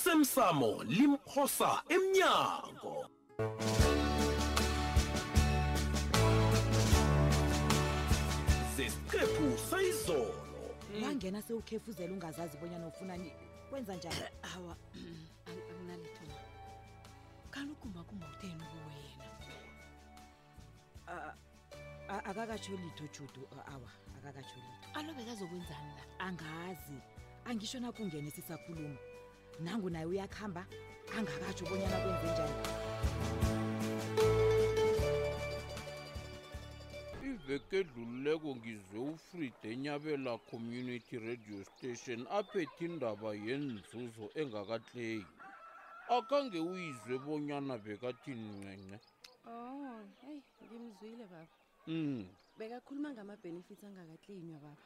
osemsamo limphosa emnyango zesiqephu sayizolo Mm. wangena sewukhefuzela ungazazi bonyana ufunani kwenza njani awa akunalitho na kalugumba kumawuteni kuwena a- a- akakatsho litho judu a- awa akakatsho litho alobe kazokwenzani la angazi angisho nakungene sisakhuluma nangu naye uyakuhamba angakatsho bonyana kwenze njani iveke edlulileko ngizwe ufreed enyabela community radio station aphethe indaba yenzuzo engakatleyi akange uyizwe bonyana bekathini ncence Oh, hey, ngimzwile baba. um Bekakhuluma ngama-benefits angakaklinywa baba.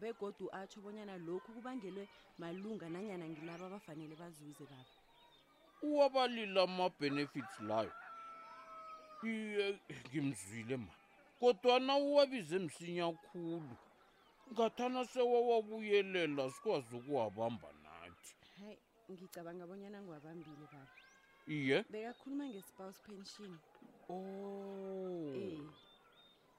Begodu atsho bonyana lokhu kubangelwe malunga nanyana ngilabo abafanele bazuze baba. uwabalile ama-benefits layo iye ngimzwile ma kodwana uwabize msinya khulu ngathana sewawabuyelela sikwazi ukuwabamba nathi Hayi, ngicabanga bonyana ngiwabambile baba. iye Bekakhuluma nge-spouse pension. oh. Eh.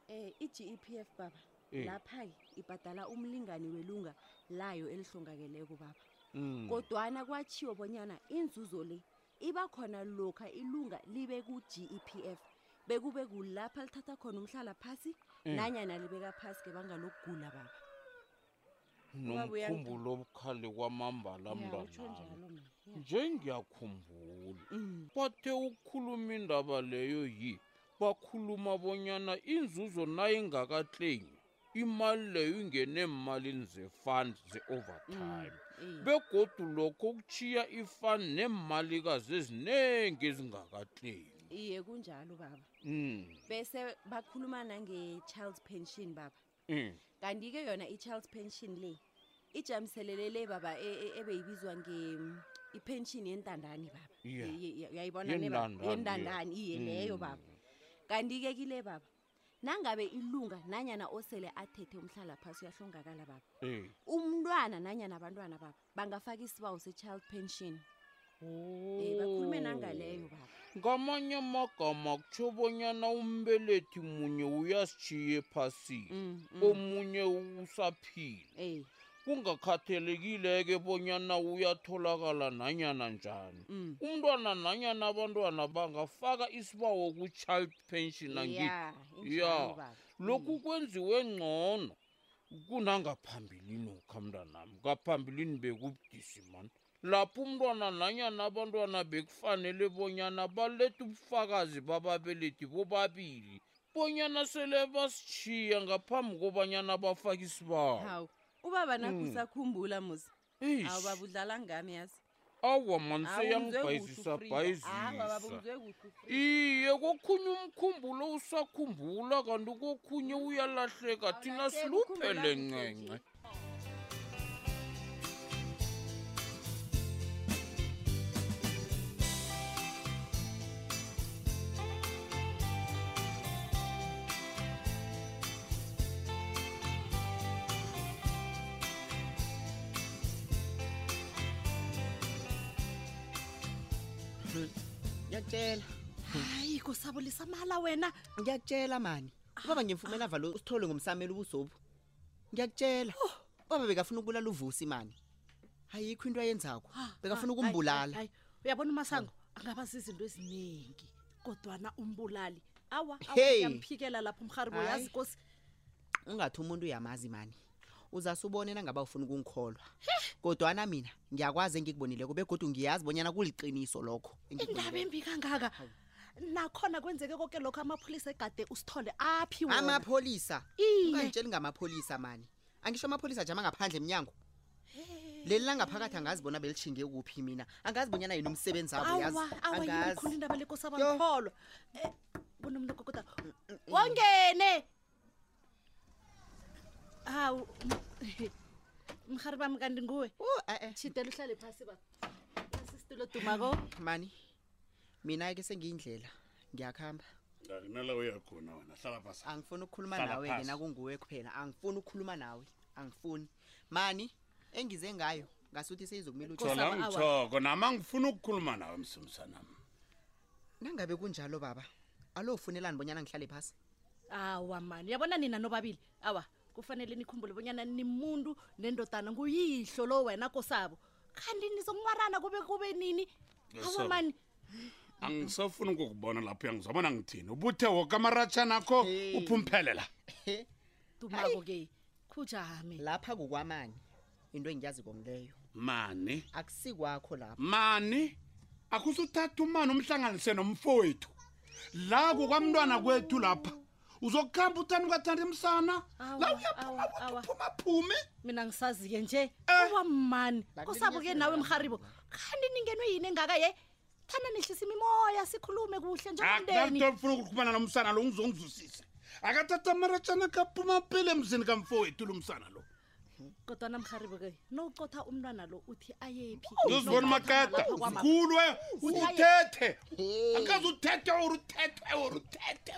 Eh, i-GEPF baba. Eh. Lapha-ke ibhadala umlingani welunga layo elihlongakeleko baba. Mm. kodwana kwatshiwo bonyana inzuzo le iba khona lokha ilunga libe ku-gepf bekube kulapha lithatha khona umhlala phasi Eh. nanyana libeka phasi ke bangalokugula baba Ubaba nomkhumbulo obukhali kwamambala mntwanami nje ngiyakhumbula Mm. bathe ukukhuluma indaba leyo yi bakhuluma bonyana inzuzo nayingakatlenywa imali leyo ingene emalini zefund ze-overtime begodu lokho kuchiya ifund neemalikazi eziningi ezingakatlenywa iye kunjalo baba Mm, bese bakhuluma nange-child pension baba mm, kanti-ke yona i-child pension le ijamiselelele baba e- e- ebeyibizwa nge ipension yentandani baba Yeah. Ye- ye- uyayibona ne baba? Yentandani, yeah. yentandani iye leyo Mm. baba kanti-ke kile baba nangabe ilunga nanyana osele athethe umhlala phasi uyahlongakala baba eh. umntwana nanyana abantwana baba bangafaka isibawo se-child pension um bakhulume nangaleyo baba ngamanye amagama kutsho bonyana umbelethi munye uyasishiya ephasini Mm, Um, omunye usaphila ey kungakhathelekile-ke bonyana uyatholakala nanyana njani Mm. umntwana nanyana abantwana bangafaka isibawo ku-child pension angithi ya injalo baba lokhu Hmm. kwenziwe ngcono kunangaphambilini ukhamntanami ngaphambilini bekubudisi mani lapho umntwana nanyana abantwana bekufanele bonyana baletha ubufakazi bababeleti bobabili bonyana sele basitshiya ngaphambi kobanyana bafake isibawo Mm. hawu ubaba nakho usakhumbula musa Eish, awu baba udlala ngami yazi awa mani Awungizwe seyangibhayizisa kuhle bhayizisa ufrida iye kokhunye umkhumbulo usakhumbula kanti kokhunye uyalahleka thina Awulahleki, ukhumbula siluphele kuhle nje. ncence ngiyakutshela hayi kusabolisa mala wena ngiyakutshela mani Ah. ubaba ngimfumela valo usithole ngomsamela ubuzobu ngiyakutshela Oh. baba bekafuna ukubulala uvusi mani ayikho into ayenzakho bekafuna ukumbulala Ah, hayi uyabona umasango angaba zizinto eziningi kodwana umbulali awa awa, Hey. ngiyamphikela lapho umharibo Hayi. yazi kosi ungathi umuntu uyamazi mani uzase ubone nangaba ufuna ukungikholwa kodwana mina ngiyakwazi engikubonileko begodwa ngiyazi bonyana kuliqiniso lokho indaba engikubonileko. embi kangaka nakhona kwenzeke konke lokho amapholisa egade usithole aphi wona amapholisa Iye. ungangitsheli ngamapholisa mani angisho amapholisa jama ngaphandle emnyango leli langaphakathi angazi bona belishinge kuphi mina angazi bonyana yini umsebenzi abo yazi awa awa yini khulu angazi indaba lekosi Yo. Mm, abangikholwa Eh, bona umntu kokoda wongene hawu mhari bami kanti nguwe Uh, eh, eh. shidela uhlale phasi ba asisitulo dumako mani mina-ke sengiyindlela ngiyakuhamba ndakunala uyakhona wena hlala phasi angifuni ukukhuluma Hlala nawe-ke phasi. nakunguwe kuphela angifuni ukukhuluma nawe angifuni mani engize ngayo ngasuthi seyizokumela utsho thola Nkosana, awa. ngithoko nama ngifuna ukukhuluma nawe msumsanami nangabe kunjalo baba alo ufunelani bonyana ngihlale phasi awa mani yabona nina nobabili awa kufanele nikhumbule bonyana nimuntu nendodana nguyihlo lo wena kosabo kanti nizokumarana kube kube nini awa Kosabo. mani angisafuni ukukubona lapho uyangizwabona ngithini ubuthe woke amaratshana akho Hey. uphumphelela dumako ke khujame lapha kukwamani into engiyazi komleyo mani akusikwakho lapha mani akusuthatha umani umhlanganise nomfowethu la kukwamntwana kwethu lapha uzokuhamba uthani kwathanda imsana la Awa, awa, awa. uyaphumaphume mina ngisaziye nje awa mani kosabo ke nawe mharibo kanti ningenwe yini engaka ye thanda nihlisa imimoya sikhulume kuhle njengomndeni akunanto efuna ukukhumana nomsana lo ngizongizusise akathatha amaratshana kaphuma pele emzini kamfowethu lo msana lo kodwa namharibo ke nowucotha umntwana lo uthi ayephi ngizibona umakeda Lapha kwama- mkhulu we Uthi- uthethe akaze uthethe or uthethe or uthethe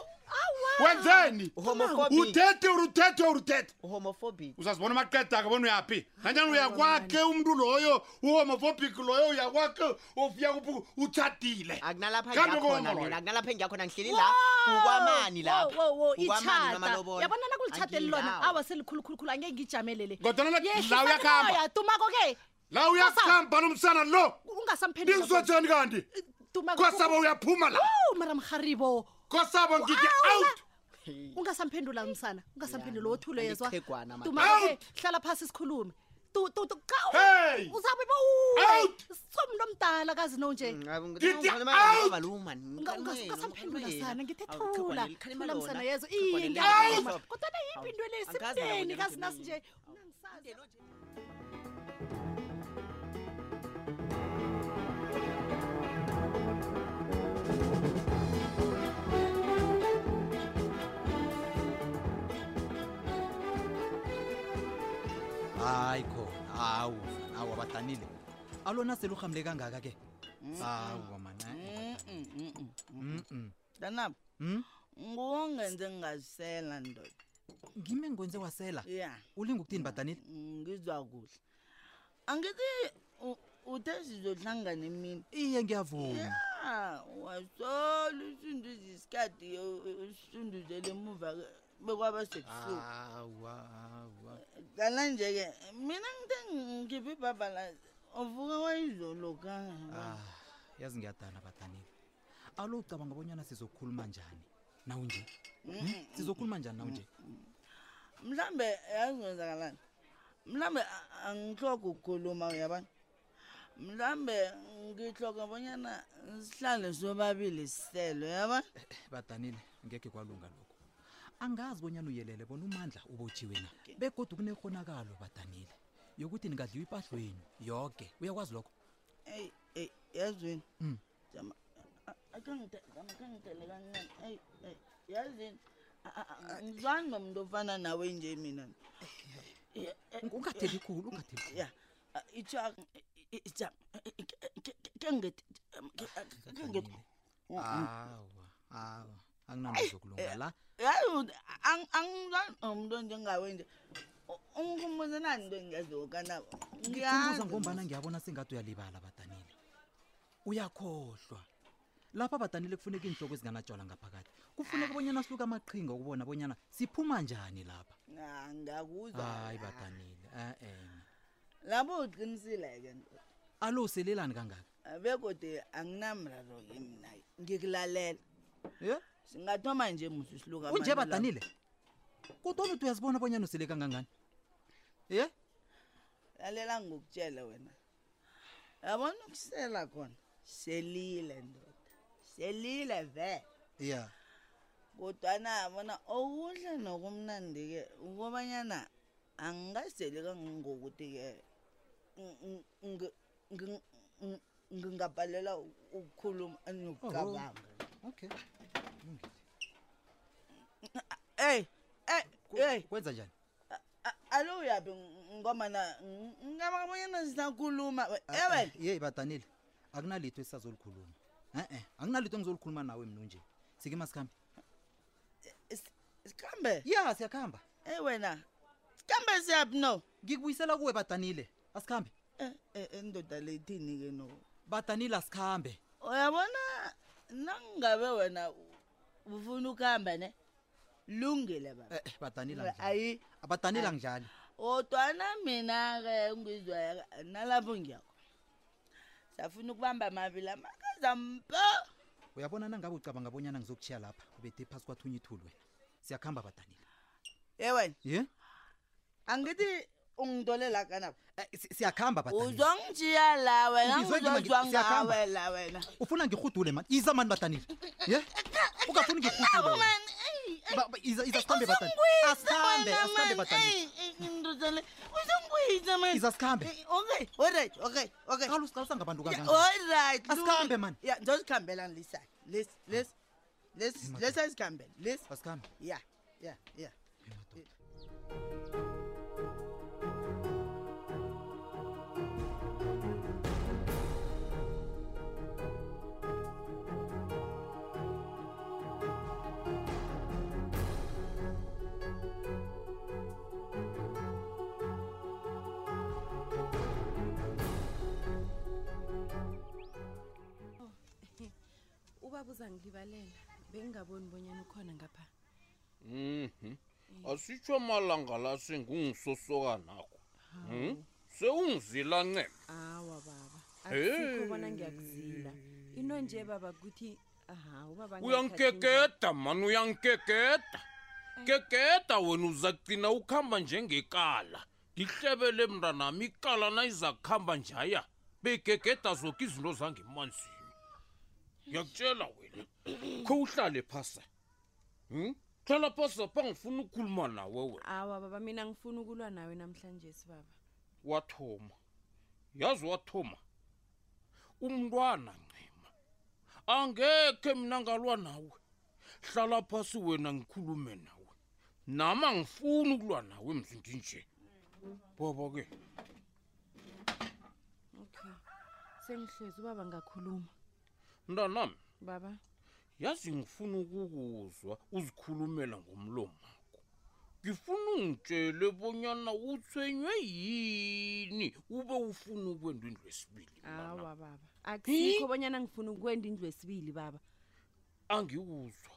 wenzeni Homophobic. uthethe or uthethe or uthethe uhomophobic uzazibona amaqeda ke bona uyaphi nanyana uyakwakhe umntu loyo uhomophobic loyo uyakwakhe ofika kuphi utshadile akunalapha Kambe ngiyakhona kuwena mina loyo? akunalapha engiyakhona ngihleli la kukwamani lapha Kukwamani itshata namalobola. yabona nakulitshateli lona Angilawo. awa selikhulukhulukhulu angeke ngijamelele Kodwana la- Yehlisa la uyakhamba. imimoya, dumako ke la uyakuhamba nomsana lo ungasamphendumara ngikusotshani kanti kosabo uyaphuma la mharibo kosabo ngike Awa. out ungasamphendula msana ungasamphendula othule yezwa Eliqhegwana, man. dumako Out. ke hlala phasi sikhulume Hey. uzabe Out. somntu omdala kazi nonje Mm, Get out! Unga- ungas- ungasamphendula sana ngithi thula thula msana yezo iye Out. ngiyauma kodwa na yimbi into le Angikaze nabona simdeni into kazi nasi enye. nje unangisazi hayi khona hawu hawu abadanile alona seluhamle kangaka ke Mm. hawu mani mntanam Mm? ngungenze ngingazisela ndoda ngime ngikwenze wasela ya ulinga ukuthini badanile ngizwa kuhle angithi u- uthe sizohlangana emini iye ngiyavuma ya wasola usunduze isikadi usunduzele emuva ke- bekwaba sebusuku Hawu, hawu, hawu. dala nje-ke mina ngithe ngikhiphe ibhabhala uvuka wayizolo Ah, kangaka yazi ngiyadana badanile alo ucabanga bonyana sizokhuluma njani nawu nje Hmm? sizokhuluma njani nawu nje mhlawumbe yazi kwenzakalani mhlawumbe a- angihloge ukukhuluma uyabani mhlawumbe ngihloge bonyana sihlale sobabili siselo uyabani badanile ngekhe kwalunga lokhu angazi bonyana uyelele bona umandla ubotshiwe na begodwa kunehonakalo badanile yokuthi ningadliwa ipahlweni yoke uyakwazi lokho eyi eyi yazini Mm. jama a- a- akangite- jama, akangitele kancane eyi eyi yazini A- a- a- ngizwani nomntu ofana nawe nje mina Ya, eh, Ung- ungatheli khulu ungatheli khulu ya a- itsha i- i- jama i- i- ke- ke- ke- ke ngithi, jama, ke- a- ke- ke ngithi. Badanile. awa awa akunangezokulunga la yazi ukuthi ang- oh, angizwani nomntu onjengawe nje U- ungikhumbuze nanto engiyaziko kanabo ngikhumbuza ngombana ngiyabona sengathi uyalibala badanile uyakhohlwa lapha badanile kufuneka iinhloko ezinganatshwala ngaphakathi kufuneka bonyana siluke amaqhinga ukubona bonyana siphuma njani lapha ngakuzwa hayi badanile eh, e-e lapho uqinisile-ke nto alo uselelani kangaka begode anginamraro-ke mina ngikulalela ye singathoma nje musi siluka unje badanile kodwa bethi uyazibona bonyana usele kangangani ye lalela ngokutshela wena yabona ukusela khona selile ndoda selile vele ya kodwana yabona okuhle nokumnandi-ke ukobanyana angingaseli kangangokuthi-ke ng- ng- ng- ng- ng- ngingabhalela ukukhuluma nokucabanga okay eyi eyi eyi kwenza njani A- alo uyaphi ng- ngomana ng- ngingabakabonyana sisakhuluma Ah, ewe yeyi badanile akunalitho esisazolikhuluma e-e akunalitho engizolikhuluma nawe mna nje sike masikhambe sikambe ya siyakuhamba eyi wena sikambe Eh, siyaphi no ngikubuyisela kuwe badanile asikhambe Eh, endoda lethini-ke no badanile asikhambe uyabona nangabe wena ufuna ukuhamba ne lungile baba Eh, eh, badanile angidlali. ayi abadanile ayi. angidlali odwana mina-ke ngizwa nalapho ngiyakho safuna ukubamba amabili amakazampa uyabona nangabe ucabanga bonyana ngizokuchiya lapha ubethe phasi kwathunye ithulu wena siyakuhamba badanile ye Eh, wena ye angithi ungidolela kanabo Eh, si- siyakuhamba badanile uzongijiya la wena Ngizwe kimi, ngizozwa siyakhamba. Eh, ngawe la wena ufuna ngirhudule mani iza mani badanile ye ungafuni ngirhudule wena. eh, Ba- ba- iza iza sikhambe badanile asikhambe asikhambe badanile uzongwiza iza Eh. sikhambe okay olright okay okay kalo usangabantu kangangani olright Asikhambe, man. ya ngizozikhambelani lisayo lesi lesi lesi Madoda. lesi azikhambele lesi asikhambe ya ya ya ubaba uzangilibalela bengingaboni bonyana ukhona ngapha Mhm. asitsho amalanga la sengungisosokanakho Mhm. sewungizila ncema awa baba Hey. asikho bona ngiyakuzila into nje baba kuthi aha ubaba uyangikekeda mani uyangikekeda kekeda wena uzagcina ukuhamba njengekala ndihlebele mntanami ikala nayizakuhamba njaya beyigegeda zoke izinto zangemanzini ngiyakutshela wena kho uhlale phasa um hlala phasa pha ngifuna ukukhuluma nawe wena awa baba mina ngifuna ukulwa nawe namhlanje sibaba wathoma yazi wathoma umntwana ncema angekhe mina ngalwa nawe hlala phasi wena ngikhulume nawe nama ngifuni ukulwa nawe emzindini nje baba ke okay sengihlezi ubaba ngakhuluma mntanami baba yazi ngifuna ukukuzwa uzikhulumela ngomlomo wakho ngifuna ungitshele bonyana uthwenywe yini ube ufuna ukwenda indlu esibili mntanami. awa baba akusikho bonyana ngifuna ukwenda indlu esibili baba angikuzwa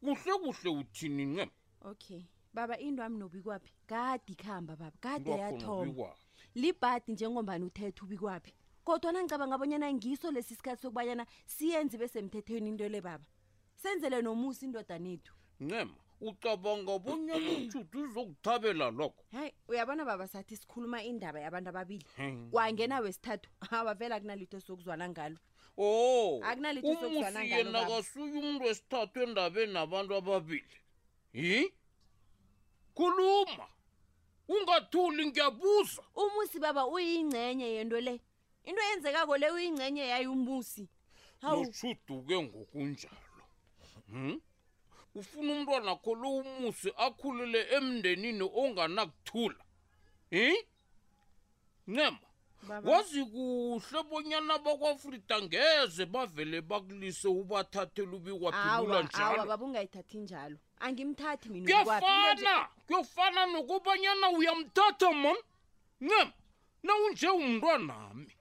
kuhle kuhle uthini ncema okay baba into yami nobikwaphi kade ikhamba baba kade yathoma kwakhona libhadi njengombani uthetha ubikwaphi kodwa nangicabanga abonyana ngiso lesi sikhathi sokubanyana siyenzi besemthethweni into le baba senzele nomusa indoda nethu ncema ucabanga bonyana ujuda uzokuthabela lokho hayi uyabona baba sathi sikhuluma indaba yabantu ababili Hmm. kwangena wesithathu awa vele akunalitho sokuzwana ngalo o Akunalitho umusi esizokuzwana ngalo, yena baba. kasuye umntu esithathu endabeni nabantu ababili yi khuluma ungathuli ngiyabuza umusi baba uyingcenye yento le into eyenzekako le uyingcenye yayo umusi hawu nojuduke ngokunjalo hmm? ufuna umntwana kho lo umusi akhulele emndenini onganakuthula hi ncema baba wazi kuhle bonyana bakwafrida ngeze bavele bakulise ubathathele ubikwaphelula awa awa njalo baba ungayithathi njalo angimthathi mina uBikwaphi. Into nje- kuyafana kuyofana nokubanyana uyamthatha mom ncema nawunje umntwanami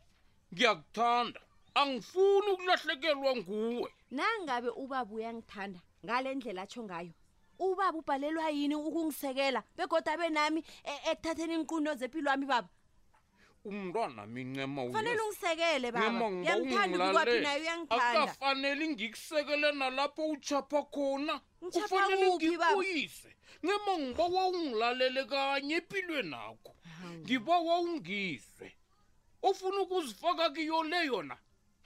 ngiyakuthanda angifuni ukulahlekelwa nguwe nangabe ubaba uyangithanda ngale ndlela atsho ngayo ubaba ubhalelwa yini ukungisekela begoda abe nami e- ekuthatheni iinqundo zempilo wami baba umntwanami ncema kufanele uyezwa. ungisekele baba Ncema, ngiba uyamthanda ubikwaphi ungilalele. naye uyangithanda akukafanele ngikusekele nalapho uchapha khona Ngitjhapha kufanele kuphi, baba? ngikuyise ncema ngiba wawungilalele kanye empilweni akho ngiba wawungizwe ofuna ukuzifaka kiyo le yona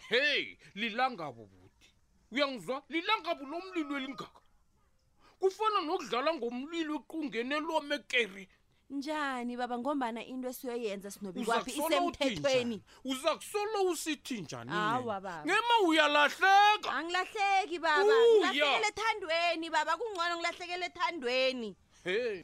heyi lilangabo buti uyangizwa lilangabo lomlilo elingaka kufana nokudlala ngomlilo equngeni elomekeri njani baba ngombana into esiyoyenza sinobikwaphi uzakusola uthi isemthethweni njani uzakusola usithi njani Awa, nene? baba. ncema uyalahleka angilahleki baba Uya. ngilahlekela ethandweni baba kungcono ngilahlekela ethandweni Hey.